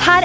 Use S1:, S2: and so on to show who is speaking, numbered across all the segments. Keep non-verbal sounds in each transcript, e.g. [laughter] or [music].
S1: her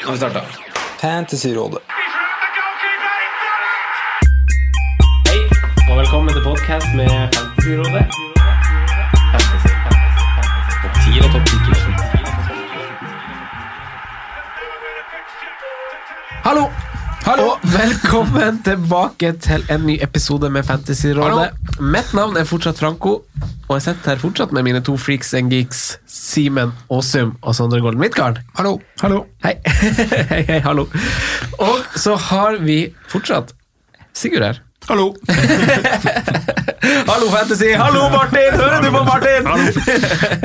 S2: Nå har vi starta. Fantasyrådet.
S3: Hei, og velkommen til podcast med Fantasyrådet. Fantasy, fantasy, fantasy. Topp 10 og topp 10
S2: Hallo! Hallo!
S3: Og velkommen tilbake til en ny episode med Fantasyrådet. Mitt navn er fortsatt Franco, og jeg sitter her fortsatt med mine to freaks and geeks, Simen Aasum og Sondre Golden Midtgarden.
S2: Hallo! Hallo!
S3: Hei. [laughs] hei, hei, hallo. Og så har vi fortsatt Sigurd her.
S2: Hallo!
S3: [laughs] Hallo, Fantasy! Hallo, Martin! Hører du på Martin?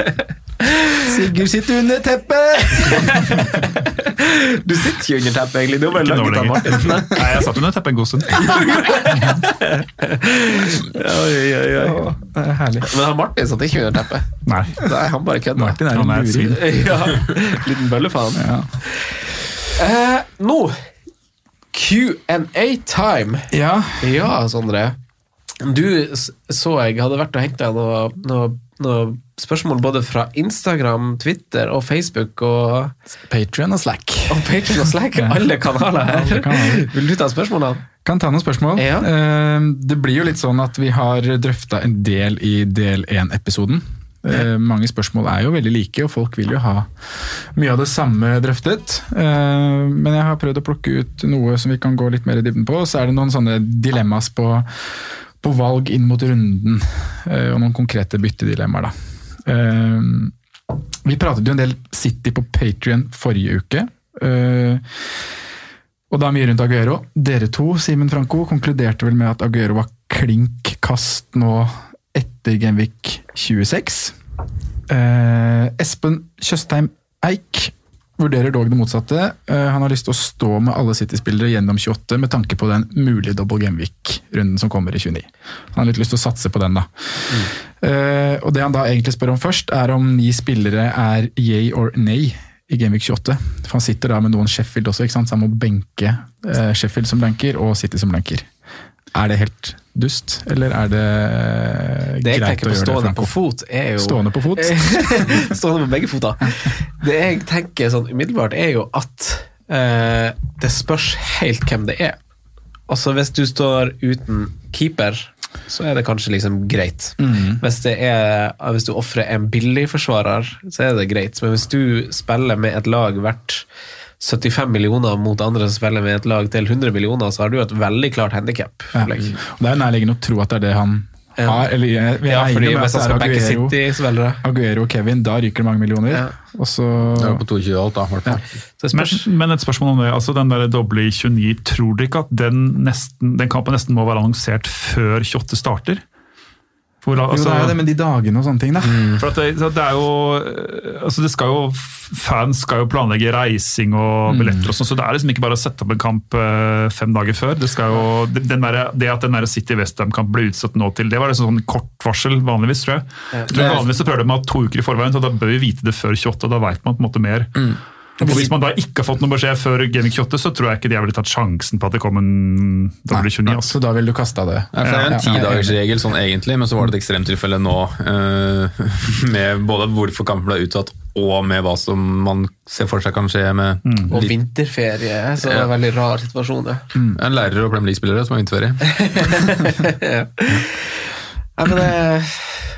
S3: [laughs]
S2: Sigurd sitter under teppet!
S3: [laughs] Du sitter jo under teppet, egentlig. Du har bare laget av Martin. Nei.
S4: [laughs] Nei, jeg satt under teppet en god stund. Det er herlig.
S3: Men han Martin satt ikke under teppet.
S4: Nei.
S3: Nei, han bare kødda.
S4: Martin er en
S3: Han
S4: luring.
S3: [laughs] Ja, liten bøllefaen.
S4: Ja.
S3: Eh, nå Q&A-time.
S4: ja.
S3: Ja, Sondre. Du s- så jeg hadde vært og henta noe, noe, noe spørsmål både fra Instagram, Twitter og Facebook og,
S4: Patrion og Slack.
S3: og Patreon og Slack.
S4: Ja.
S3: Alle kanaler
S4: Alle
S3: her.
S4: kanaler.
S3: Vil du ta spørsmålene?
S4: Kan ta noen spørsmål.
S3: Ja.
S4: Eh, Det blir jo litt sånn at vi har drøfta en del i del 1-episoden. Mange spørsmål er jo veldig like, og folk vil jo ha mye av det samme drøftet. Eh, Men jeg har prøvd å plukke ut noe som vi kan gå litt mer i dybden på. og Så er det noen sånne dilemmas på, på valg inn mot runden, eh, og noen konkrete byttedilemmaer, da. Eh, Vi pratet jo en del City på Patrion forrige uke. Eh, og da mye rundt Aguero. Dere to, Simen Franco, konkluderte vel med at Aguero var klink kast nå etter Genvik 26. Eh, Espen Tjøstheim Eik vurderer dog det motsatte. Eh, han har lyst til å stå med alle City-spillere gjennom 28 med tanke på den mulige dobbel Genvik-runden som kommer i 29. Han har litt lyst til å satse på den, da.
S3: Mm.
S4: Eh, og det han da egentlig spør om først, er om ni spillere er yay or nay i Gamevik 28. For han sitter da med noen Sheffield også, ikke sant? så han må benke eh, Sheffield som blanker og City som blanker. Er det helt dust, eller er det, eh,
S3: Det jeg
S4: greit
S3: tenker
S4: å
S3: på
S4: gjøre det,
S3: stående på
S4: Franco?
S3: fot, er jo
S4: Stående på fot?
S3: [laughs] Stående Eh, på begge fota. Det jeg tenker sånn umiddelbart, er jo at eh, det spørs helt hvem det er. Altså Hvis du står uten keeper, så er det kanskje liksom greit.
S4: Mm.
S3: Hvis, det er, hvis du ofrer en billig forsvarer, så er det greit. Men hvis du spiller med et lag verdt 75 millioner mot andre som spiller med et lag til 100 millioner, så har du et veldig klart handikap.
S4: Ja. Og det er jo nærliggende å tro at det er det han
S3: Ja.
S4: har. Eller jeg, jeg
S3: Ja,
S4: regner
S3: fordi
S4: med
S3: hvis jeg
S4: at det er
S3: skal backe
S4: Aguero,
S3: City-spillere
S4: Aguero og Kevin, da ryker det mange millioner.
S3: Ja.
S4: Og så
S2: på 22 alt, da. Ja.
S3: Så det
S4: Men-
S3: spørs.
S4: men et spørsmål om det. altså Den der doble i 29, tror dere ikke at den, nesten, den kampen nesten må være annonsert før 28 starter? For, la- altså,
S2: det er jo det med de dagene og sånne ting, da.
S5: Mm.
S4: for at det, så det er jo altså det skal jo, Fans skal jo planlegge reising
S2: Mm.
S4: og billetter, og sånn, så det er liksom ikke bare å sette opp en kamp eh, fem dager før. Det, skal jo, den der, det at den der City Westham-kampen ble utsatt nå til, det var liksom sånn kort varsel vanligvis, tror jeg. jeg tror vanligvis så prøver de å ha to uker i forveien, så da bør vi vite det før 28, og da veit man på en måte mer.
S2: Mm.
S4: Og Hvis man da ikke har fått noen beskjed før Gaming 28, så tror jeg ikke de har ville tatt sjansen på at det kom en W29.
S2: Nei,
S4: Så da ville du kasta det?
S2: Ja, for det er jo en tidagersregel sånn egentlig, men så var det et ekstremtilfelle nå eh, [laughs] med både hvorfor kampen ble utsatt, og med hva som man ser for seg kan skje med
S3: Og
S2: litt-
S3: vinterferie, så det er
S2: Ja.
S3: en veldig rar situasjon. Ja.
S2: en lærer og Premier League-spillere som har vinterferie.
S3: Ja, men det,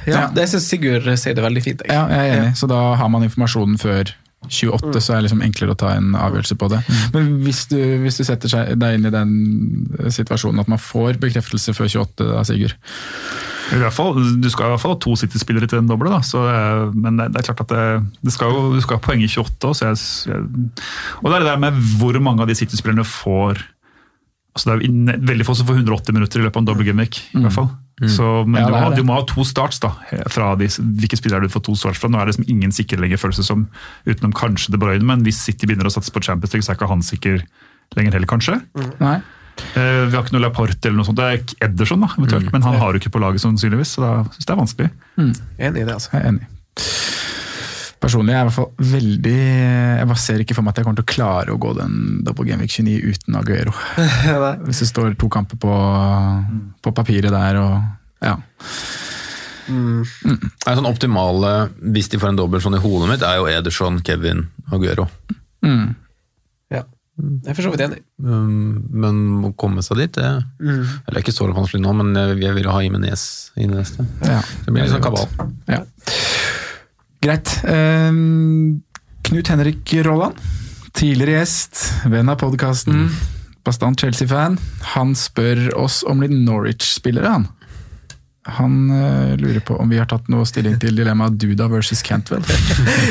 S3: ja,
S4: Ja.
S3: det syns Sigurd sier det veldig fint. Jeg.
S4: Ja, jeg er enig. Så da har man informasjonen før 28, så er det liksom enklere å ta en avgjørelse på det. Men hvis du, hvis du setter seg deg inn i den eh, situasjonen at man får bekreftelse før 28, da, Sigurd.
S5: I hvert fall, du skal i hvert fall ha to City-spillere til den doble, da. Så, eh, men det, det er klart at det, det skal jo, du skal ha poeng i 28 også, så jeg, s- jeg, Og det er det der med hvor mange av de City-spillerne får altså Det er jo inn- veldig få som får 180 minutter i løpet av en double gimmick, i hvert fall. Så, men
S4: Mm. Ja, det
S5: du, må,
S4: er
S5: ha-
S4: det.
S5: du må ha to starts, da. Fra de, hvilke spillere du får to starts fra. Nå er det liksom ingen sikker lenger, føles det som, utenom kanskje De Bruyne. Men hvis City begynner å satse på Champions League, så er ikke han sikker lenger heller, kanskje.
S4: Nei?
S5: Eh, Vi har ikke noe Laporte eller noe sånt. Det er Ederson, da,
S2: Mm.
S5: eventuelt, men han har jo ikke på laget sannsynligvis. Så da synes jeg det er vanskelig.
S3: Enig i det, altså.
S4: Jeg er enig. Personlig er jeg i hvert fall veldig Jeg bare ser ikke for meg at jeg kommer til å klare å gå den double gameweek 29 uten Aguero. Hvis det står to kamper på, på papiret der og ja.
S2: Det er sånn optimale, hvis de får en dobbel sånn i hodet mitt, er jo Ederson, Kevin, Aguero.
S4: Mm.
S3: Ja.
S5: Mm.
S3: Jeg er for så vidt enig.
S2: Um, men å komme seg dit, det Eller det er ikke så vanskelig nå, men jeg jeg vil ha Jimenez inn i neste.
S4: Ja.
S2: Det blir litt sånn kabal.
S4: Ja. Greit. Ehm, Knut Henrik Rolland, tidligere gjest, venn av podkasten, bastant Chelsea-fan. Han spør oss om litt Norwich-spillere, han. Han eh, lurer på om vi har tatt noe stilling til dilemmaet Duda versus Cantwell.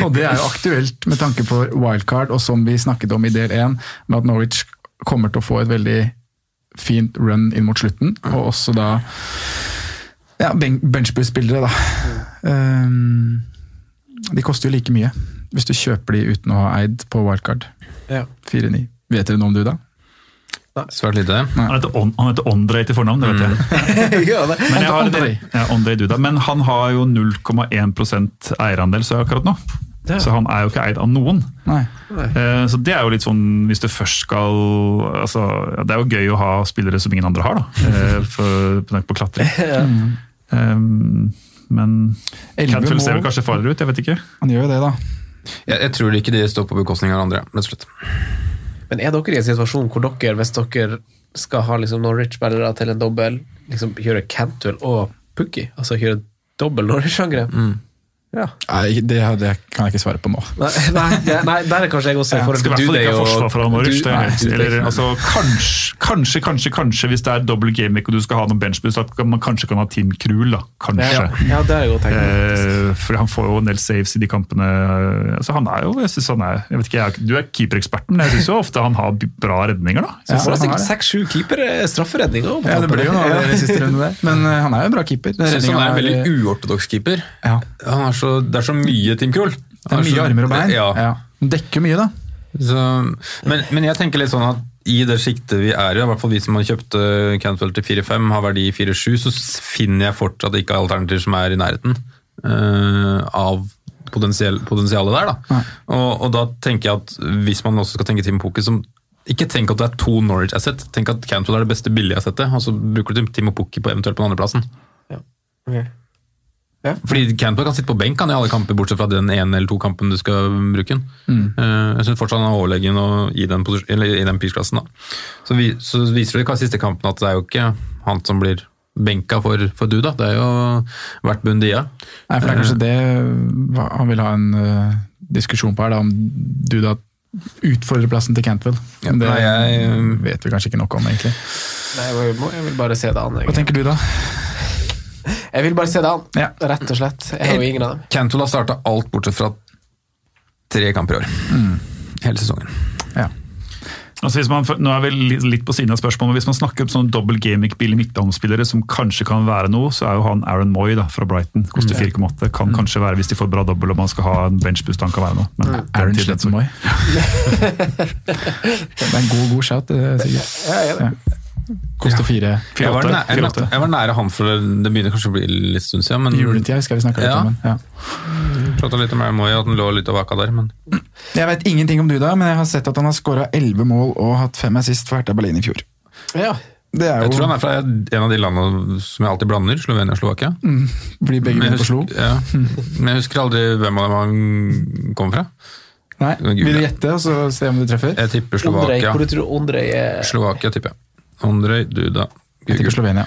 S4: og det er jo aktuelt med tanke på wildcard, og som vi snakket om i del én, med at Norwich kommer til å få et veldig fint run inn mot slutten, og også da ja, ben benchboost-spillere, da. Ehm, de koster jo like mye hvis du kjøper de uten å ha eid på wildcard.
S3: Ja.
S4: 4-9. Vet dere noe om du, da?
S2: Svært lite.
S3: [laughs]
S5: Han heter, On- han heter Ondrej til fornavn, det vet
S2: Mm.
S5: jeg.
S3: ja, det.
S5: Men, jeg har,
S4: Ondrej.
S5: ja, Ondrej Duda. men han har jo 0,1 eierandel så akkurat nå.
S3: Ja.
S5: Så han er jo ikke eid av noen.
S4: Nei.
S5: Eh, Så det er jo litt sånn, hvis du først skal altså, ja, Det er jo gøy å ha spillere som ingen andre har, da. eh, For, på tanke på klatring. Um, Men
S4: Elleve
S5: Cantwell ser vel
S4: mål.
S5: kanskje farligere ut, jeg vet ikke.
S4: Han gjør jo det, da.
S2: Jeg, jeg tror ikke de står på bekostning av hverandre, rett og slett.
S3: Men er dere i en situasjon hvor dere, hvis dere skal ha liksom Norwich-spillere til en dobbel, liksom kjøre Cantwell og Pukki? Altså kjøre dobbel Norwich-angrep?
S5: Mm.
S3: Ja.
S4: Nei, det, har- det kan jeg ikke svare på nå.
S3: Nei, nei, ja, nei, der er kanskje jeg også i forhold
S5: Skal i
S3: til
S5: hvert fall
S3: Dudley
S5: ikke ha forsvar fra Norwich.
S3: Du-
S5: det er
S3: Nei,
S5: helt-
S3: Dudley.
S5: eller, altså, kanskje, kanskje, kanskje, kanskje, hvis det er dobbel gameweek og du skal ha noen benchboost, at man kanskje kan ha Tim Krul, da.
S3: ja,
S5: Kanskje.
S3: ja, det har jeg godt tenkt. på.
S5: Eh, for han får jo en del saves i de kampene. Altså, han er jo, jeg synes han er, jeg vet ikke, jeg, er- Du er keepereksperten, men jeg syns ofte han har b- bra redninger, da.
S4: Ja,
S3: Får
S5: Jeg synes
S3: da
S4: han er
S3: sikkert
S4: det.
S3: seks-sju keepere strafferedning òg.
S4: Ja, det ble jo noe av det i siste runde der. Men eh, han er jo en bra keeper. Den
S2: Jeg synes han er en
S4: redningen var-
S2: veldig uortodoks keeper.
S4: ja.
S2: Han er så, det er så mye Tim Krohl.
S4: Det er mye armer og bein.
S2: Ja.
S4: Ja. Han dekker jo mye, da.
S2: Så, men, men jeg tenker litt sånn at i det siktet vi er i, i hvert fall vi som har kjøpt eh, Cantwell til 4-5, har verdi 4-7, så s- finner jeg fortsatt ikke alternativer som er i nærheten eh, av potensiell, potensialet der. Da. Og, og da tenker jeg at hvis man også skal tenke Team Poker, som ikke tenk at det er to Norwich Asset, tenk at Cantwell er det beste billige assettet, og så bruker du Team Poker på eventuelt på den andreplassen.
S3: Ok.
S2: Fordi Cantwell kan sitte på benk han, i alle kamper, bortsett fra den ene eller to kampen du skal bruke den. Eh, jeg synes fortsatt han er overlegen og, i den, posis- eller i den prisklassen. Da. Så, vi, så viser det i siste kampen at det er jo ikke han som blir benka for, for du, da. Det er jo Vert Bundia.
S4: Nei, for det er kanskje det hva- han vil ha en eh, diskusjon på her, da, om du da utfordrer plassen til Cantwell.
S2: Ja,
S4: det
S2: nei, jeg- eh,
S4: vet vi kanskje ikke nok om, egentlig.
S3: Nei, jeg må- jeg vil bare se det an.
S4: Hva
S3: Jeg,
S4: tenker du, da?
S3: jeg vil bare se det an,
S4: Ja.
S3: rett og slett. Jeg har jo ingen av dem.
S2: Cantwell har starta alt bortsett fra tre kamper i år. Hele sesongen.
S4: Ja.
S5: Mm. Altså hvis man, nå er vi litt- litt på siden av spørsmålet, men hvis man snakker om sånn dobbel gameweek-billige midtbanespillere som kanskje kan være noe, så er jo han Aaron Moy da, fra Brighton. Koster
S2: Mm.
S5: 4,8. Kan kanskje være, hvis de får bra dobbel og man skal ha en benchboost, han kan være noe.
S2: Mm.
S5: Men den
S4: Aaron
S5: tiden-
S4: Slettenboy. [laughs] det er en god, god shout, det, Sigurd. Ja. Koster fire.
S2: Jeg var,
S5: 4,8,
S2: næ- jeg,
S5: 4,8.
S2: var- jeg var nære han for det begynner kanskje å bli litt stund siden, men
S4: Juletida skal vi snakke litt
S2: Ja.
S4: om. men- Ja.
S2: prata litt om Ermoy at han lå litt og vaka der. Men
S4: Jeg vet ingenting om Duda, men jeg har sett at han har skåra elleve mål og hatt fem assist for Hertha Berlin i fjor.
S3: Ja.
S4: Det er jo,
S2: jeg tror han er fra en av de landene som jeg alltid blander, Slovenia og Slovakia.
S4: blir begge
S2: Men
S4: med
S2: jeg,
S4: på slo.
S2: husker, ja. men jeg husker aldri hvem av dem han kom fra.
S4: Nei,
S2: Gud,
S4: Vil du
S2: ja.
S4: gjette, og så se om du treffer?
S2: Jeg tipper
S3: Ondrej,
S2: Slovakia.
S3: hvor du tror Ondrej er
S2: Slovakia tipper jeg. Andrej Duda.
S4: Jeg tipper
S2: Google.
S4: Slovenia.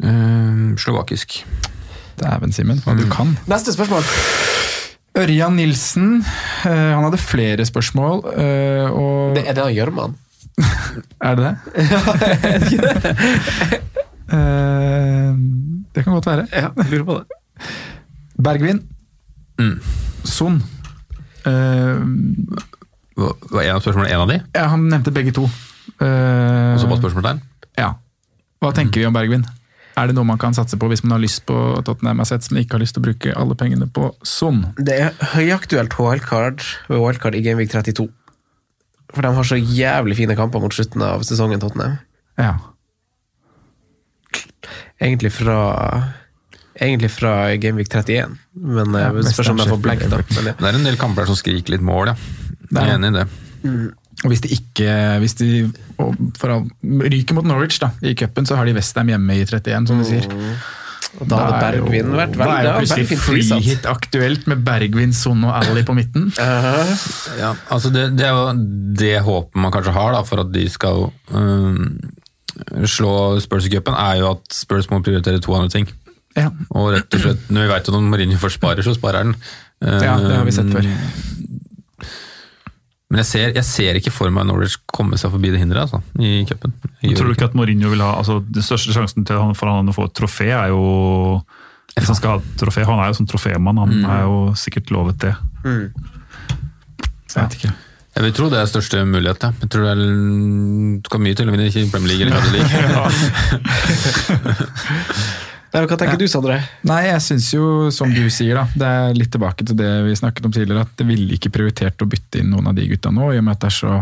S2: Eh, slovakisk. Mm.
S4: Dæven, Simen, hva du kan.
S3: Neste spørsmål!
S4: Ørjan Nilsen, eh, han hadde flere spørsmål. eh, og
S3: Det, er det han Gjørman?
S4: Er det det?
S3: [laughs]
S4: [laughs] Eh, det kan godt være.
S3: Ja, lurer på det. Mm.
S4: Bergvin. Son. Eh,
S2: Hva- Var en av spørsmålene en av de?
S4: ja, han nevnte begge to. Eh,
S2: Og så var spørsmålet
S3: Mm.
S4: ja. Hva tenker vi om Bergvin? Er det noe man kan satse på hvis man har lyst på Tottenham Assets, men ikke har lyst til å bruke alle pengene på Son?
S3: Det er høyaktuelt wildcard ved wildcard i Gameweek 32. For de har så jævlig fine kamper mot slutten av sesongen, Tottenham.
S4: Ja.
S3: Egentlig fra Egentlig fra Gameweek 31, men eh,
S4: Ja,
S3: spørs om de
S4: West
S3: får
S4: Ham,
S3: blank, da. Men, eh,
S2: Det er en del kamper der som skriker litt mål, ja. Jeg
S4: Det
S2: er
S4: er
S2: enig i det.
S4: Og hvis de ikke hvis de, og for all, Ryker mot Norwich da, i cupen, så har de Westham hjemme i 31, som de sier.
S3: ja. Da hadde
S4: er jo-
S3: Bergvin vært
S4: Da er
S3: veldig
S4: jo
S3: ja,
S4: plutselig
S3: Bergvin altså. frisatt.
S4: frihit aktuelt med Bergvin, Son og Ally på midten.
S2: Ja, altså det, det er jo det håpet man kanskje har da, for at de skal øhm, slå Spurs i cupen, er jo at Spurs må prioritere to andre ting.
S4: Ja,
S2: Og rett og slett, når vi vet at når Mourinho først sparer, så sparer han. Eh,
S4: ja det har vi sett før.
S2: Men jeg ser, jeg ser ikke for meg Norwich komme seg forbi det hinderet altså, i cupen. Jeg gjør
S5: Tror du ikke at Mourinho vil ha altså, Den største sjansen til han, for han å få et trofé, er jo hvis han skal ha et trofé. Han er jo sånn trofémann,
S2: Mm.
S5: han er jo sikkert lovet det. Så jeg vet ikke.
S2: Jeg vil tro det er største mulighet. Ja. Jeg tror det er, skal mye til å vinne i Premier League eller Premier League.
S5: [laughs]
S3: Nei, men Hva tenker du, Sondre?
S4: Nei, jeg syns jo, som du sier, da, det er litt tilbake til det vi snakket om tidligere, at det ville ikke prioritert å bytte inn noen av de gutta nå, i og med at det er så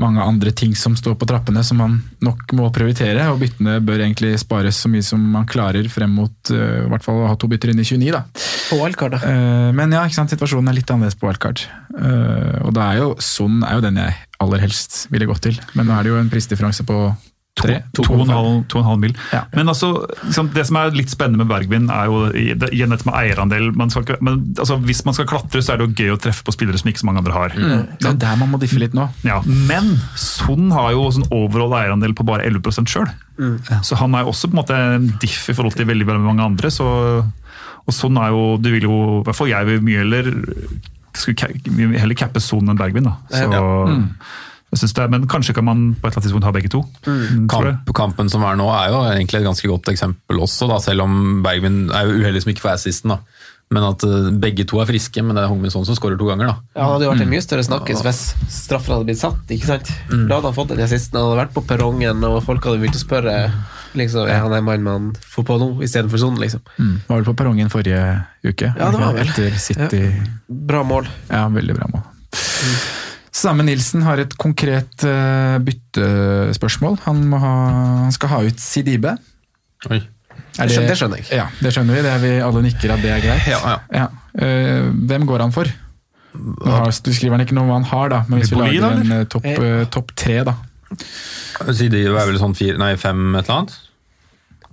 S4: mange andre ting som står på trappene som man nok må prioritere, og byttene bør egentlig spares så mye som man klarer frem mot øh, i hvert fall å ha to bytter inn i 29, da.
S3: På wildcard, da.
S4: Eh, Men ja, ikke sant? situasjonen er litt annerledes på wildcard. Eh, Og da er jo Son er jo den jeg aller helst ville gått til, men nå er det jo en prisdifferanse på tre.
S5: To, to, og en halv, to og en halv mil.
S4: Ja.
S5: Men altså, liksom, det som er litt spennende med Bergvin, er jo i- det, igjen dette med eierandel. Man skal ikke, men altså, hvis man skal klatre, så er det jo gøy å treffe på spillere som ikke så mange andre har.
S4: Det er der man må diffe litt nå.
S5: Ja, Men Son har jo sånn overall eierandel på bare 11 sjøl. Så han er jo også på en måte en diff i forhold til veldig veldig mange andre. Så, og Son er jo Du vil jo, i hvert fall jeg vil mye heller skulle ca- vi vil heller cappe Son enn Bergvin. da. Så, jeg synes det, er- men kanskje kan man på et eller annet tidspunkt ha begge to. tror jeg.
S2: Kamp, kampen som er nå er jo egentlig et ganske godt eksempel også, da, selv om Bergvin er jo uheldig som ikke får assisten. Da. Men at eh, begge to er friske, men det er Hongmin Son som skårer to ganger. Da.
S3: Ja, Han hadde jo
S4: Mm.
S3: vært en mye større snakkis hvis straffen hadde blitt satt. ikke sant? Da hadde han fått den assisten. Han hadde vært på perrongen, og folk hadde begynt å spørre liksom, er han en mann man får på nå, istedenfor sonen. Liksom.
S4: Mm. Var vel på perrongen forrige uke.
S3: Ja, det var vel.
S4: Etter City. Mm.
S3: Bra mål.
S4: Ja, veldig bra mål. Samme Nilsen har et konkret eh, byttespørsmål. Han, må ha, han skal ha ut Sidibe.
S2: Oi.
S4: Er
S3: Det skjønner- det skjønner jeg.
S4: Ja, det skjønner vi. Det er vi alle nikker at det er greit.
S2: Ja, ja.
S4: Eh, hvem går han for? Nå har, du skriver han ikke noe om hva han har, da, men hvis vi
S5: Ripoli,
S4: lager
S5: da,
S4: en eh, topp eh, topp tre, da.
S2: Sidi er vel sånn fire, nei, fem et eller annet?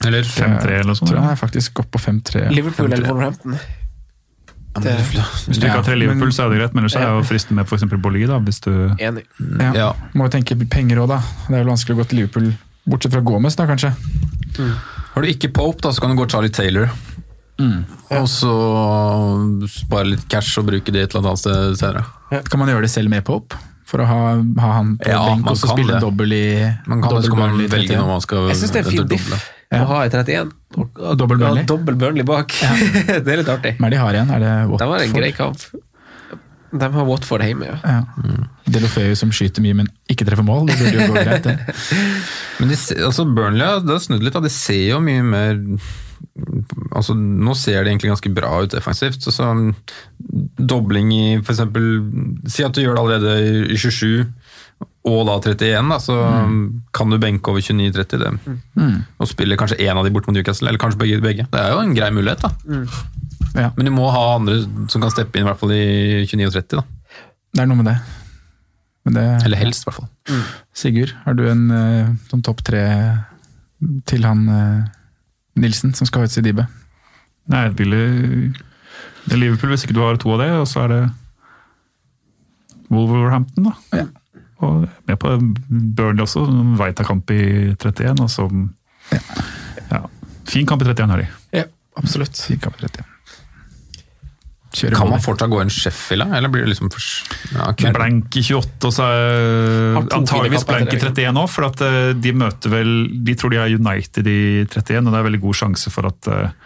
S2: Eller?
S5: 5-3 eller noe sånt.
S4: Tror
S5: ja.
S4: han er faktisk oppe på 5-3.
S3: Liverpool eller Wolverhampton.
S5: Hvis du ikke har tre
S4: Ja,
S5: Liverpool,
S4: men-
S5: så er det greit, men ellers er jo fristende med f.eks. Bolli. da, hvis du...
S3: Enig.
S4: Ja.
S2: Ja.
S4: Må jo tenke penger òg, da. Det er vel vanskelig å gå til Liverpool, bortsett fra Gomez, da, kanskje.
S2: Har du ikke Pope, da, så kan du gå Charlie Taylor. Og så spare litt cash og bruke det et eller annet sted senere.
S4: Kan man gjøre det selv med Pope? For å ha, ha han på
S2: Ja,
S4: benk
S2: man
S4: og så
S2: kan
S4: spille
S2: det.
S4: en dobbel i
S2: Man kan, så kan man
S4: Burnley
S2: velge
S4: 31.
S2: når man skal
S3: Jeg syns det er en fin
S2: eventuelt
S3: diff
S2: doble.
S3: å ha i 31. Og, og
S4: Dobbel Burnley. Mm.
S3: Ja, dobbel Burnley bak. [laughs] det er litt artig.
S4: Hvem er det de har igjen? Er det
S3: Det var en
S4: Watford?
S3: grei kamp. De har Watford hjemme, ja.
S4: Ja.
S2: Mm.
S4: Delofeu som skyter mye, men ikke treffer mål. Det burde jo gå greit, det.
S2: Men de, se- altså Burnley har- det har snudd litt. Da. De ser jo mye mer altså Nå ser det egentlig ganske bra ut defensivt. Så, så, um, dobling i f.eks. Si at du gjør det allerede i 27 og da 31, da, så um, kan du benke over 29-30. det.
S3: Mm.
S2: Og spille kanskje én av de bort mot Newcastle, eller kanskje begge. begge. Mm. Det er jo en grei mulighet, da.
S3: Mm.
S4: Ja.
S2: Men du må ha andre som kan steppe inn, i hvert fall i 29 og 30. da.
S4: Det er noe med det. Men det
S2: Eller helst, i hvert fall.
S4: Sigurd, har du en eh, sånn topp tre til han eh, Nilsen, som skal ha ut Sidibe?
S5: Nei, jeg vil det er Liverpool hvis ikke du har to av det, og så er det Wolverhampton, da. Og med på Burnley også, som veit har kamp i 31, og som ja. Fin kamp i 31 har de.
S4: Ja, absolutt. Fin kamp, rett, ja. Kjører
S2: Kan
S4: volley.
S2: man fortsatt gå en Sheffield, da? eller blir det liksom for... ja, kun-
S5: Blank i 28, og så er
S3: Har to
S5: antageligvis
S3: fingerkapper
S5: blank i
S3: etter
S5: 31 òg. For at eh, de møter vel De tror de er United i 31, og det er veldig god sjanse for at eh,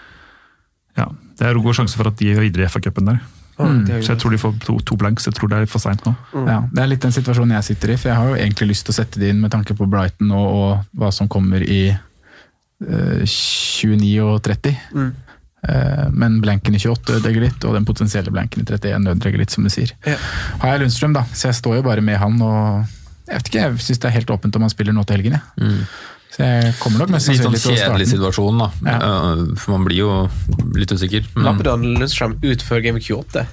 S5: Ja, det er god sjanse for at de er videre i FA-cupen der. Så jeg tror de får to, to blanks. Jeg tror det er for seint nå.
S4: Ja,
S2: Mm.
S4: det er litt den situasjonen jeg sitter i, for jeg har jo egentlig lyst til å sette det inn med tanke på Brighton nå, og hva som kommer i eh, 29 og 30.
S2: Mm.
S4: Eh, men blanken i 28 ødelegger litt, og den potensielle blanken i 31 ødelegger litt, som du sier.
S3: Ja.
S4: Har jeg Lundstrøm, da, så jeg står jo bare med han og Jeg vet ikke, jeg syns det er helt åpent om han spiller nå til helgen, jeg. Så jeg kommer nok mest
S2: Mm. Litt sånn
S4: sannsynlig til å starte.
S2: kjedelig
S4: den.
S2: situasjon, da.
S4: Ja.
S2: Eh, For man blir jo litt usikker. Men
S3: Lapper han Lundstrøm ut før Game Week 28?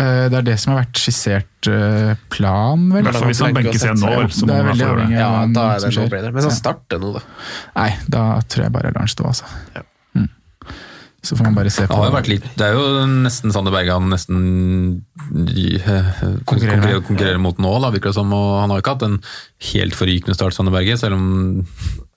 S4: Eh, det er det som har vært skissert eh, plan,
S5: I
S4: vel?
S5: hvert fall hvis han
S3: blank
S5: benkes igjen nå.
S3: uansett,
S5: vel, så
S4: det
S5: må
S4: er
S5: man i hvert
S4: veldig
S5: fall gjøre det.
S4: avhengig
S3: Ja,
S4: av
S3: da
S4: hva
S3: er det
S4: som
S3: no
S4: skjer.
S3: brainer. Mens han
S4: Ja.
S3: starter nå, da.
S4: Nei, da tror jeg bare jeg lar den stå, altså. Mm. Så får man bare se på
S2: det har jo vært litt Det er jo nesten Sander Bergan nesten eh, konkurrerer,
S4: Konkurrerer med.
S2: konkurrerer, konkurrerer mot nå, da, virker det som. Og han har ikke hatt en helt forrykende start, Sander Berge, selv om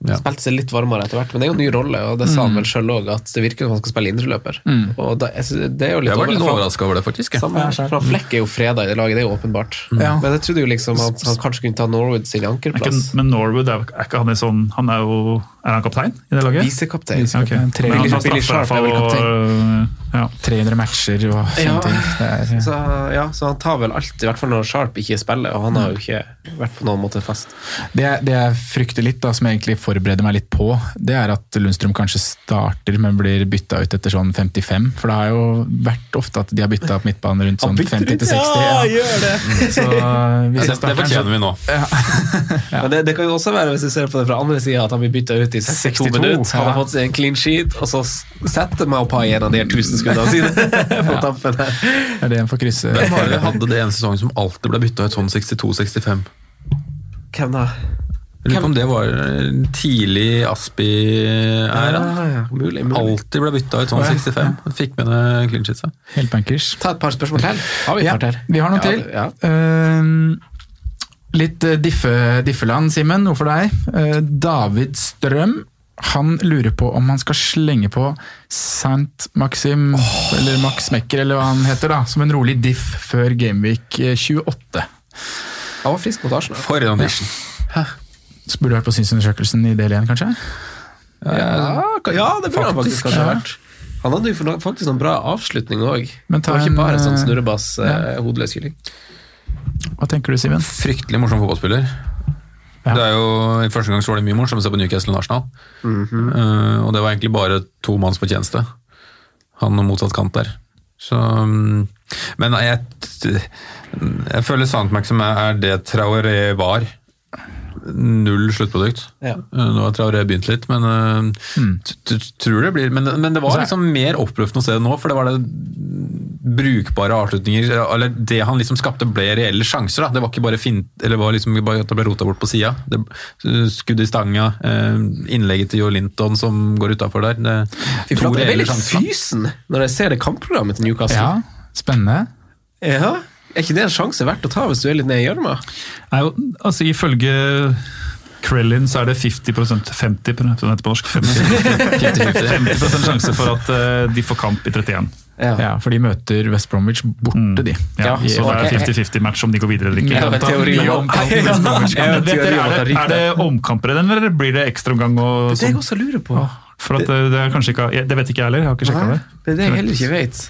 S2: ja.
S3: Spilte seg litt varmere etter hvert, men det er jo en ny rolle, og det sa
S4: Mm.
S3: han vel sjøl òg, at det virker som han skal spille indreløper. Og da, jeg synes- det er jo litt
S2: Jeg var litt
S3: overraskende.
S2: overraska over det, faktisk. jeg.
S3: Samme her, for han Flekk er jo freda i det laget, det er jo åpenbart.
S4: Mm. Ja.
S3: Men jeg trodde jo liksom at han kanskje kunne ta Norwood sin
S5: Er ikke,
S3: ankerplass.
S5: men Norwood, er, er ikke han i sånn Han er jo Er han kaptein i det laget?
S3: Visekaptein.
S4: Vise-
S5: Ok.
S4: Tre-
S5: Men han tar
S3: Billy
S5: straffer i hvert
S3: Sharp er vel
S5: fall, og ja.
S4: 300 matcher og sånne
S3: Ja.
S4: ting. Det
S2: eh,
S4: er,
S3: Så, ja, så han tar vel alt, i hvert fall når Sharp ikke spiller, og han har jo ikke vært på noen måte fast.
S4: det, jeg- det jeg frykter litt, da, som jeg egentlig forbereder meg litt på, det er at Lundstrøm kanskje starter, men blir bytta ut etter sånn 55. For det har jo vært ofte at de har bytta opp midtbanen rundt sånn 50 til 60. Ja, gjør det! Så hvis
S2: Det,
S4: jeg
S2: det
S4: starter den, så
S2: fortjener vi nå.
S3: Men det, det kan jo også være, hvis du ser på det fra andre sida, at han blir bytta ut i 62,
S4: 62,
S3: minutter. Han har
S4: ja.
S3: fått seg en clean sheet, og så s- setter Maupai en av de her 1000 skuddene sine [laughs] på tampen her.
S4: er det en får krysse.
S2: Hvem var det hadde det en sesong som alltid ble bytta ut sånn 62-65?
S3: Hvem da?
S2: Jeg Lurer på om det var eh, tidlig Aspi-æra.
S3: Ah, ja, mulig, mulig.
S2: Alltid ble bytta ut sånn 65. Fikk med det clean sheet.
S4: Helt bankers.
S3: Ta et par spørsmål til. Har vi et
S4: Ja,
S3: par til?
S4: vi har noen
S3: Ja,
S4: til.
S3: Ja.
S4: Ehm, litt eh, diffe, diffeland, Simen. Noe for deg. Eh, David Strøm. Han lurer på om han skal slenge på Saint Maxim, eller Max Mekker, eller hva han heter, da, som en rolig diff før Gameweek eh, 28.
S3: Han var frisk mot Arsenal.
S2: For en audition!
S4: Så burde du vært på synsundersøkelsen i del 1, kanskje?
S3: Ja, ka- ja, det burde han faktisk kanskje
S4: ja.
S3: vært. Han hadde jo for noe- faktisk noen bra avslutning òg.
S4: Men
S3: Det
S4: ta
S3: var ikke
S4: en,
S3: bare sånn
S4: eh,
S3: snurrebass, eh, hodeløs kylling.
S4: Hva tenker du, Simen?
S2: Fryktelig morsom fotballspiller.
S4: Ja.
S2: Det er jo, I første gang så var det mye morsomt å se på Newcastle og Arsenal.
S3: Mhm.
S2: Eh, og det var egentlig bare to manns fortjeneste. Han og motsatt kant der. Så, mm, men jeg, jeg føler Sant Maxim er det Traoré var. Null sluttprodukt.
S3: Ja.
S2: Eh, Nå har Traoré begynt litt, men eh, t- t- tror det blir Men, men det var
S4: Mm. Altså,
S2: liksom mer oppløftende å se det nå, for det var det brukbare avslutninger Eller det han liksom skapte, ble reelle sjanser. da Det var ikke bare fint, eller var liksom bare at det ble rota bort på sida. Skudd i stanga, eh, innlegget til Jo Linton som går utafor der. Det,
S3: Fy flate, jeg ble litt fysen når jeg ser det kampprogrammet til Newcastle.
S4: Ja, spennende.
S3: Ja. Er ikke det en sjanse verdt å ta hvis du er litt ned i gjørma?
S5: Nei, jo, altså Ifølge Krellin så er det 50 50 som det heter
S2: [laughs]
S5: på norsk. 50, 50 sjanse for at eh, de får kamp i 31.
S4: Ja, For de møter West Bromwich borte, de.
S5: Mm. Ja,
S3: Ja,
S5: så det er 50-50-match om de går videre eller ikke.
S3: Jeg har en teori om at-
S5: Mye omkamp.
S3: Jeg har en
S5: Men vet
S3: teori
S5: dere,
S3: om at
S5: Er
S3: det
S5: det,
S3: er
S5: er det omkamper i den, eller blir det ekstraomgang? og
S3: Det er det jeg
S5: sånn?
S3: også lurer på.
S5: For at eh, det er kanskje ikke Det vet ikke jeg heller, jeg har ikke sjekka
S3: Nei,
S5: det.
S3: det er det jeg heller ikke vet.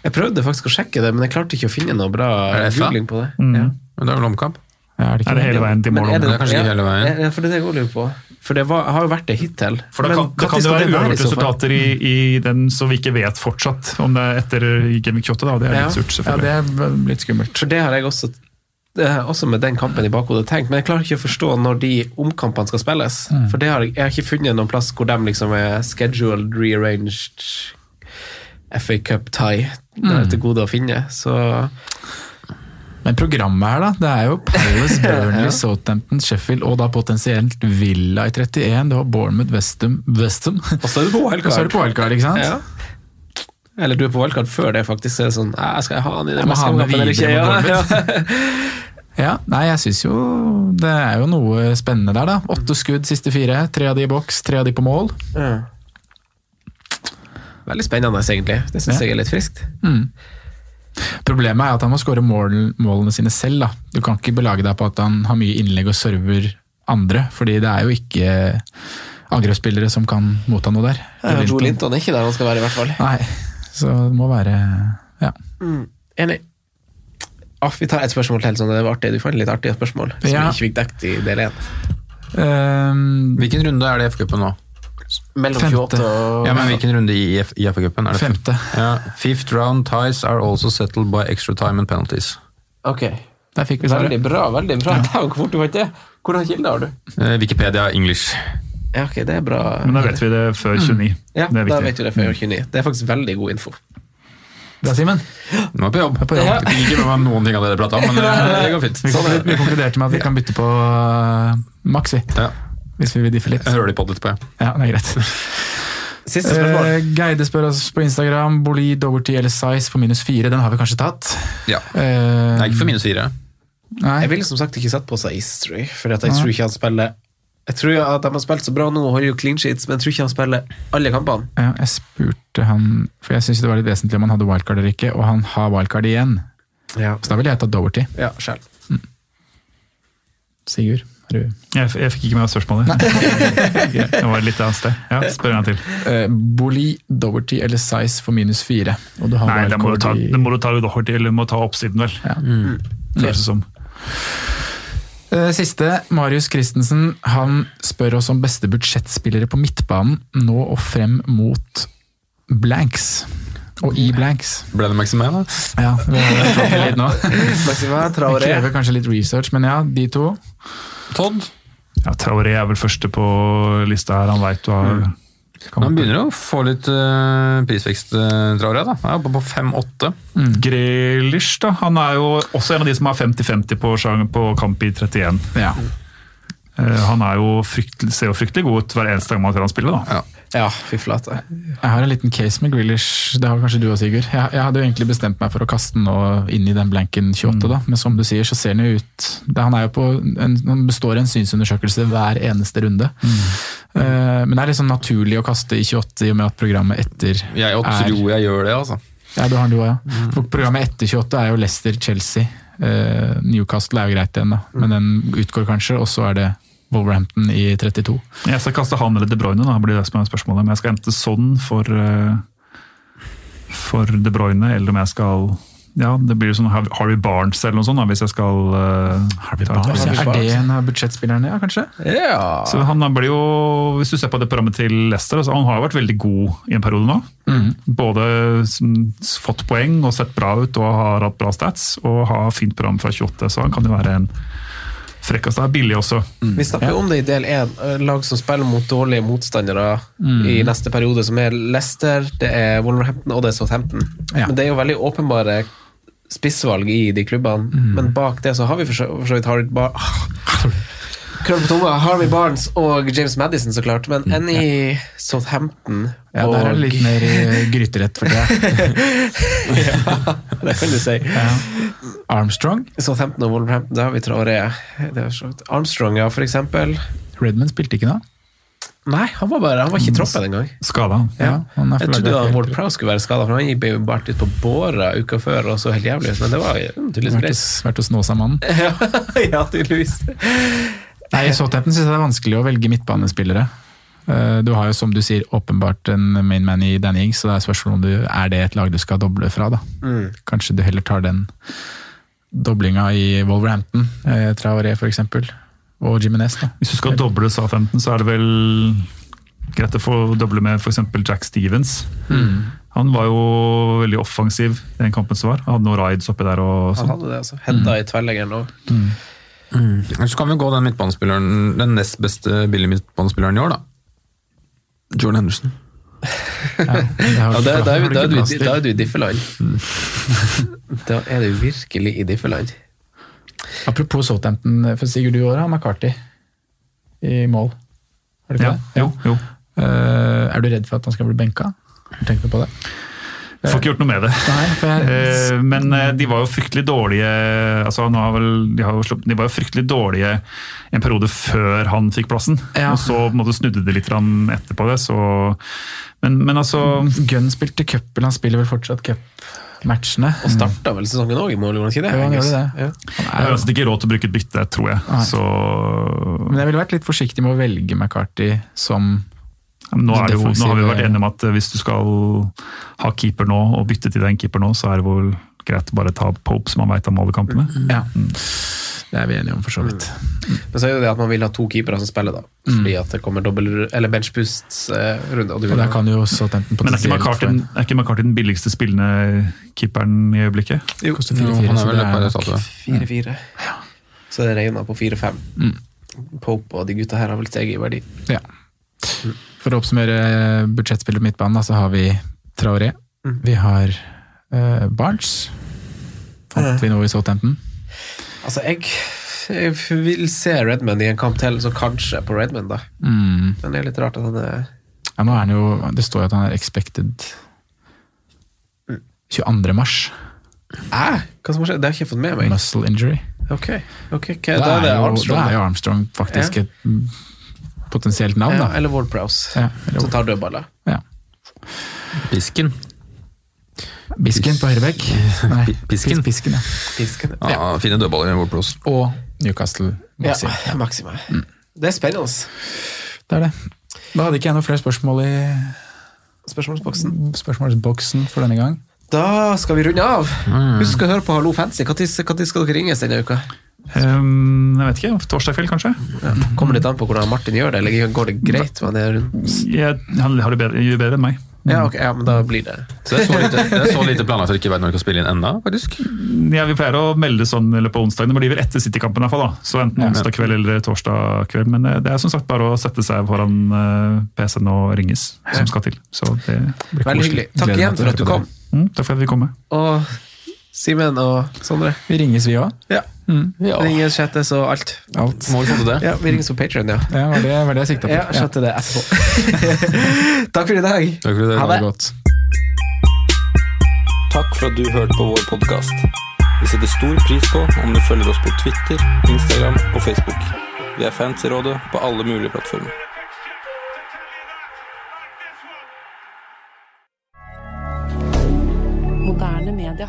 S3: Jeg prøvde faktisk å sjekke det, men jeg klarte ikke å finne noe
S2: Er
S3: bra
S2: det FA?
S3: googling på det.
S5: Mm.
S3: Ja.
S2: Men det er vel omkamp?
S4: Ja, er det ikke
S5: Er det hele veien til
S3: Men
S5: mål?
S3: er
S2: det er kanskje ikke
S3: ja,
S2: hele veien.
S3: ja, For det er det jeg også lurer på. For det var, har jo vært det hittil.
S5: For det
S3: Men
S5: kan, det
S3: når
S5: kan jo
S3: skal
S5: være
S3: det i
S5: uavgjort
S3: så fall?
S5: resultater i, i den som vi ikke vet fortsatt om det er etter Gaming 28. Da. Det er
S3: Ja.
S5: litt surt,
S4: Ja,
S5: selvfølgelig.
S4: det er litt skummelt.
S3: For det har jeg også det har jeg også med den kampen i bakhodet tenkt, men jeg klarer ikke å forstå når de omkampene skal spilles.
S4: Mm.
S3: For det har jeg, jeg har ikke funnet noen plass hvor de liksom er scheduled, rearranged FA Cup tie. Det
S4: Mm.
S3: er til gode å finne. Så
S4: Men programmet her, da. Det er jo Palace, Burnley, Southampton, Sheffield og da potensielt Villa i 31. Du har Bournemouth, Westham Westham. [laughs]
S3: Og så er du på
S4: Og så er
S3: wildcard.
S4: det på wildcard, ikke sant?
S3: Ja. Eller du er på wildcard før det, faktisk. Så er det sånn «Æ, Skal jeg ha han i den
S4: Jeg må ha han med
S3: maskekampen eller ikke?
S4: videre
S3: Ja,
S4: mot
S3: ja.
S4: Ja, Nei, jeg syns jo det er jo noe spennende der, da. Åtte skudd, siste fire. Tre av de i boks, tre av de på mål.
S3: [laughs] Veldig spennende, egentlig. Det syns
S4: Ja.
S3: jeg er litt friskt.
S4: Mm. Problemet er at han må skåre mål, målene sine selv. Da. Du kan ikke belage deg på at han har mye innlegg og server andre, fordi det er jo ikke angrepsspillere som kan motta noe der.
S3: Eh, Joe Linton er ikke der han skal være, i hvert fall.
S4: Nei, så det må være ja.
S3: Enig. Ah, vi tar et spørsmål til, sånn det var artig. Du fant litt artige spørsmål som
S4: Ja.
S3: vi ikke fikk dekket i del 1.
S4: Ehm,
S2: Hvilken runde er det i FA-cupen nå?
S3: Mellom
S4: Femte.
S3: 28 og
S2: Ja, men Hvilken runde i, F- i FA-cupen? er det?
S4: Femte.
S2: Ja. Fifth round ties are also settled by extra time and penalties.
S3: Ok.
S4: der fikk vi
S3: Veldig
S4: svaret.
S3: bra. veldig bra. Ja. [laughs] Hvor fort du fant det? Hvordan kilde har du?
S2: Eh, Wikipedia English.
S3: Ja, ok, Det er bra.
S5: Men da vet vi det før 29.
S3: Mm. Ja,
S5: det er
S3: Da
S5: viktig.
S3: vet du det før jeg var 29. Det er faktisk veldig god info.
S4: Da, Simen.
S2: Nå er jeg på jobb.
S4: på
S2: Jeg
S4: jobb.
S2: fikk ikke med meg noen ting av det dere pratet om, men eh, det går fint.
S4: Vi, vi konkluderte med at vi kan bytte på uh, Max, vi.
S2: Ja,
S4: Hvis vi vil diffe litt.
S2: jeg hører de på etterpå, jeg.
S4: Ja, det er greit.
S3: Siste spørsmål.
S4: Eh, Geide spør oss på Instagram. Boli, Doverty eller Size for minus fire. Den har vi kanskje tatt.
S2: Ja.
S4: Eh,
S2: Det er ikke for minus fire.
S4: Nei.
S3: Jeg ville som sagt ikke satt på seg Eastery, for at jeg tror ikke han spiller Jeg tror at de har spilt så bra nå og holder jo clean sheets, men jeg tror ikke han spiller alle kampene.
S4: Ja, jeg spurte han, for jeg syntes det var litt vesentlig om han hadde wildcard eller ikke, og han har wildcard igjen.
S3: Ja,
S4: Så da ville jeg tatt Doverty.
S3: ja selv.
S4: Sigurd. har du-
S5: Jeg, f- jeg fikk ikke med meg [laughs] spørsmålet. det var litt annet sted. Ja, spør en gang til.
S4: Eh, Boli, Doverty eller Size for minus fire. Og du har
S5: Nei, da må du ta,
S4: wildcard i-
S5: da må du ta, Doherty, eller du må ta oppsiden, vel.
S4: Ja.
S2: Mm.
S5: Høres det som.
S4: Eh, Siste, Marius Christensen. Han spør oss om beste budsjettspillere på midtbanen nå og frem mot blanks. Og i blanks.
S2: Ble det Maximé, da?
S4: Ja, vi har tatt det litt nå.
S3: Maxima
S4: Det
S3: Traoré.
S4: krever kanskje litt research, men ja, de to.
S2: Todd?
S5: Ja, Traoré er vel første på lista her, han veit du har
S4: Mm.
S2: Men Han begynner å få litt eh, prisvekst, uh, Traoré. da. Han er oppe på 5-8.
S4: Mm.
S5: Grealish, da. Han er jo også en av de som har 50-50 på, sjang- på kamp i 31.
S4: Ja.
S5: Eh, Han er jo fryktelig, ser jo fryktelig god ut hver eneste gang man ser han spille, da.
S3: Ja, fy flate.
S4: Jeg har en liten case med Grealish. Det har kanskje du også, Sigurd. Jeg, jeg hadde jo egentlig bestemt meg for å kaste den nå inn i den blanken 28, da.
S2: Mm.
S4: men som du sier, så ser den jo ut det, han, er jo på en, han består i en synsundersøkelse hver eneste runde.
S2: Mm.
S4: Eh, men det er liksom naturlig å kaste i 28 i og med at programmet etter
S2: Jeg tror Mm. jeg gjør det, altså.
S4: Ja, du har den du også, ja. For programmet etter 28 er jo Leicester-Chelsea. Eh, Newcastle er jo greit igjen, da,
S2: Mm.
S4: men den utgår kanskje. Og så er det Wolverhampton i 32.
S5: Jeg skal kaste han eller De Bruyne, da, blir det som er spørsmålet. Men jeg skal enten sånn for, eh, for De Bruyne, eller om jeg skal ja, Det blir jo sånn Har- Harvey Barnes eller noe sånt, da, hvis jeg skal eh, Harvey
S4: Så
S3: Barnes,
S4: Altså, er
S3: ja.
S4: det en av budsjettspillerne, ja, kanskje?
S3: Ja.
S5: Så han blir jo, Hvis du ser på det programmet til Leicester, altså han har jo vært veldig god i en periode nå.
S4: Mm.
S5: Både som- fått poeng og sett bra ut og har hatt bra stats og har fint program fra 28, så han kan jo være en frekkast. Det er billig også.
S4: Mm.
S3: Vi snakker jo om det i del én. Lag som spiller mot dårlige motstandere
S4: Mm.
S3: i neste periode, som er Leicester, det er Wolverhampton og det er Southampton.
S4: Ja.
S3: Men det er jo veldig åpenbare spissvalg i de klubbene.
S4: Mm.
S3: Men bak det så har vi for så for så vidt Harvey Bar Ah. [laughs] Krøll på tunga. Harvey Barnes og James Madison, så klart. Men enn i Southampton
S4: Mm. Ja,
S3: og
S4: der er det litt mer eh, gryterett for det.
S3: [laughs] Det kan du
S4: [laughs]
S3: si.
S4: Armstrong.
S3: Southampton og Wolverhampton, da har vi Traoré. Det er så vidt- Armstrong, ja, for eksempel.
S4: Redman spilte ikke da.
S3: Nei, han var bare Han var
S4: Mm.
S3: ikke i troppen engang.
S5: Skada han.
S4: Ja, han er
S3: Jeg trodde
S4: flagget
S3: at Ward
S4: helt-
S3: Prowse skulle være skada, for han ble jo båret ut på båra uka før og så helt jævlig ut, men det var jo tydeligvis
S4: Vært
S3: greit.
S4: hos- vært hos Nåsamannen.
S3: Ja, [laughs] ja, tydeligvis.
S4: Nei, I Southampton syns jeg det er vanskelig å velge midtbanespillere. Eh, Du har jo som du sier åpenbart en main man i Danny Ings, så det er spørsmålet om du er det et lag du skal doble fra, da.
S3: Mm.
S4: Kanskje du heller tar den doblinga i Wolverhampton, eh, Traoré for eksempel, og Jimenez, da.
S5: Hvis du skal doble SA15, så er det vel greit å få doble med f.eks. Jack Stevens.
S4: Hmm.
S5: Han var jo veldig offensiv i den kampen som var. Han hadde noen raids oppi der og
S3: Han
S5: sånn.
S3: hadde det, altså. Hedda i tverrleggeren òg.
S2: Ellers kan vi gå den midtbanespilleren, den nest beste billige midtbanespilleren i år, da. Jordan Henderson.
S3: Ja, da, da, er vi-
S4: det
S3: da, er
S4: ikke
S3: du
S4: plass
S3: i-
S4: til.
S3: da er du i diffeland.
S4: Mm.
S3: Da er du virkelig i diffeland.
S4: Apropos Southampton, for Sigurd du i år har McCarthy i mål. Er det ikke
S5: Ja,
S4: det?
S5: jo, jo.
S4: Eh, er du redd for at han skal bli benka? Har du tenkt noe på det?
S5: Får ikke gjort noe med det. [laughs] Eh, Men eh, de var jo fryktelig dårlige altså han har vel, de, har jo sluppet, de var jo fryktelig dårlige en periode før han fikk plassen. Og så på en måte, snudde det litt grann etterpå det. Så, men, men altså
S4: Gunn spilte cup, eller han spiller vel fortsatt cupmatchene.
S3: Og starta vel sesongen òg i mål, gjorde han ikke det?
S4: Jo, han gjorde
S3: Angus?
S4: det.
S5: Jeg har altså ikke råd til å bruke et bytte, tror jeg.
S4: Nei.
S5: Så
S4: Men jeg ville vært litt forsiktig med å velge McCarthy som
S5: Ja, men nå, er det jo, nå har vi
S4: Defensive-
S5: vært enige om at eh, hvis du skal ha keeper nå, og bytte til deg en keeper nå, så er det vel greit å bare ta Pope, som man veit om alle kampene.
S2: Mm.
S4: Ja. Det er vi enige om, for så vidt.
S3: Mm. Men så er jo det at man vil ha to keepere som spiller, da. Fordi at det kommer dobbel, eller benchboost-runde. og du
S4: Mm. Og
S3: vil
S4: der kan jo også Tempen
S5: Men er ikke McCarthy den- er ikke McCarthy den billigste spillende keeperen i øyeblikket?
S3: Jo,
S4: koste
S2: Jo,
S4: 4-4,
S2: han
S4: så
S2: er vel
S4: det
S2: det per
S4: nok-
S2: resultat, ja.
S3: 4-4. Så det regner på 4-5. Pope og de gutta her har vel steget i verdi.
S4: Ja. For å oppsummere eh, budsjettspillet på midtbanen, da, så har vi Traoré.
S3: Mm.
S4: Vi har eh, Barnes. Fant vi noe i Southampton?
S3: Altså, jeg, jeg vil se Redman i en kamp til, så kanskje på Redman, da.
S4: Mm.
S3: Men det er litt rart at han er
S4: Ja, nå er han jo Det står jo at han er expected
S3: Mm.
S4: 22. mars.
S3: Æ? Hva som har skjedd? Det har jeg ikke fått med meg.
S4: Muscle injury.
S3: Ok, ok, ok.
S4: Da
S3: Da, er det
S4: jo-
S3: Armstrong.
S4: Da er
S3: da.
S4: jo Armstrong faktisk
S3: Ja.
S4: et mm, potensielt navn,
S3: Ja,
S4: da.
S3: eller Ward Prowse,
S4: Ja, eller-
S3: som tar dødballer.
S4: Ja.
S2: Bisken.
S4: Bisken på høyrebekk. Nei,
S2: Bi- Bisken.
S4: Bis- Bisken, ja.
S3: Fisken, ja.
S2: Ja, Fine dødballer i vårt plass.
S4: Og Newcastle.
S3: Ja,
S4: Maxi.
S3: Maxima. Det er spennende.
S4: Det er det. Da hadde ikke jeg noen flere spørsmål i
S3: Spørsmålsboksen.
S4: spørsmålsboksen for denne gang.
S3: Da skal vi runde av. Husk å høre på Hallo Fancy. Når skal dere ringes denne uka?
S5: Ehm, jeg vet ikke. Torsdag kveld, kanskje?
S3: Kommer litt an på hvordan Martin gjør det, eller går det greit? med det rundt?
S5: Jeg, han har det bedre, gjør bedre enn meg.
S3: Ja, ok, ja, men da blir det
S2: Så det er så lite, det er så lite planlagt at vi ikke vet når vi kan spille inn enda, faktisk.
S5: Ja, vi pleier å melde sånn eller på onsdag. Det blir vel etter City-kampen. i hvert fall, da. Så enten onsdag kveld eller torsdag kveld. Men eh, det er som sagt bare å sette seg foran eh, PC-en og ringes, som skal til. Så det
S3: veldig
S5: blir koselig.
S3: hyggelig. Takk
S4: Gleder meg
S3: igjen
S4: til å
S3: for at du
S4: høre på
S3: kom.
S5: Mm, takk for at vi kom. med.
S3: Og Simen og Sondre.
S4: Vi ringes, vi òg.
S3: Ja. Ringes, chattes og alt.
S4: Alt.
S2: Må vel få til det.
S3: Ja, vi ringes på Patreon, ja.
S4: Ja, var det var det jeg sikta på.
S3: Ja, chatte det etterpå. Takk for i dag.
S2: Takk for i dag.
S3: Ha
S4: Ha
S3: det.
S4: det godt.
S6: Takk for at du hørte på vår podkast. Vi setter stor pris på om du følger oss på Twitter, Instagram og Facebook. Vi er fans i rådet på alle mulige plattformer.
S1: Moderne media.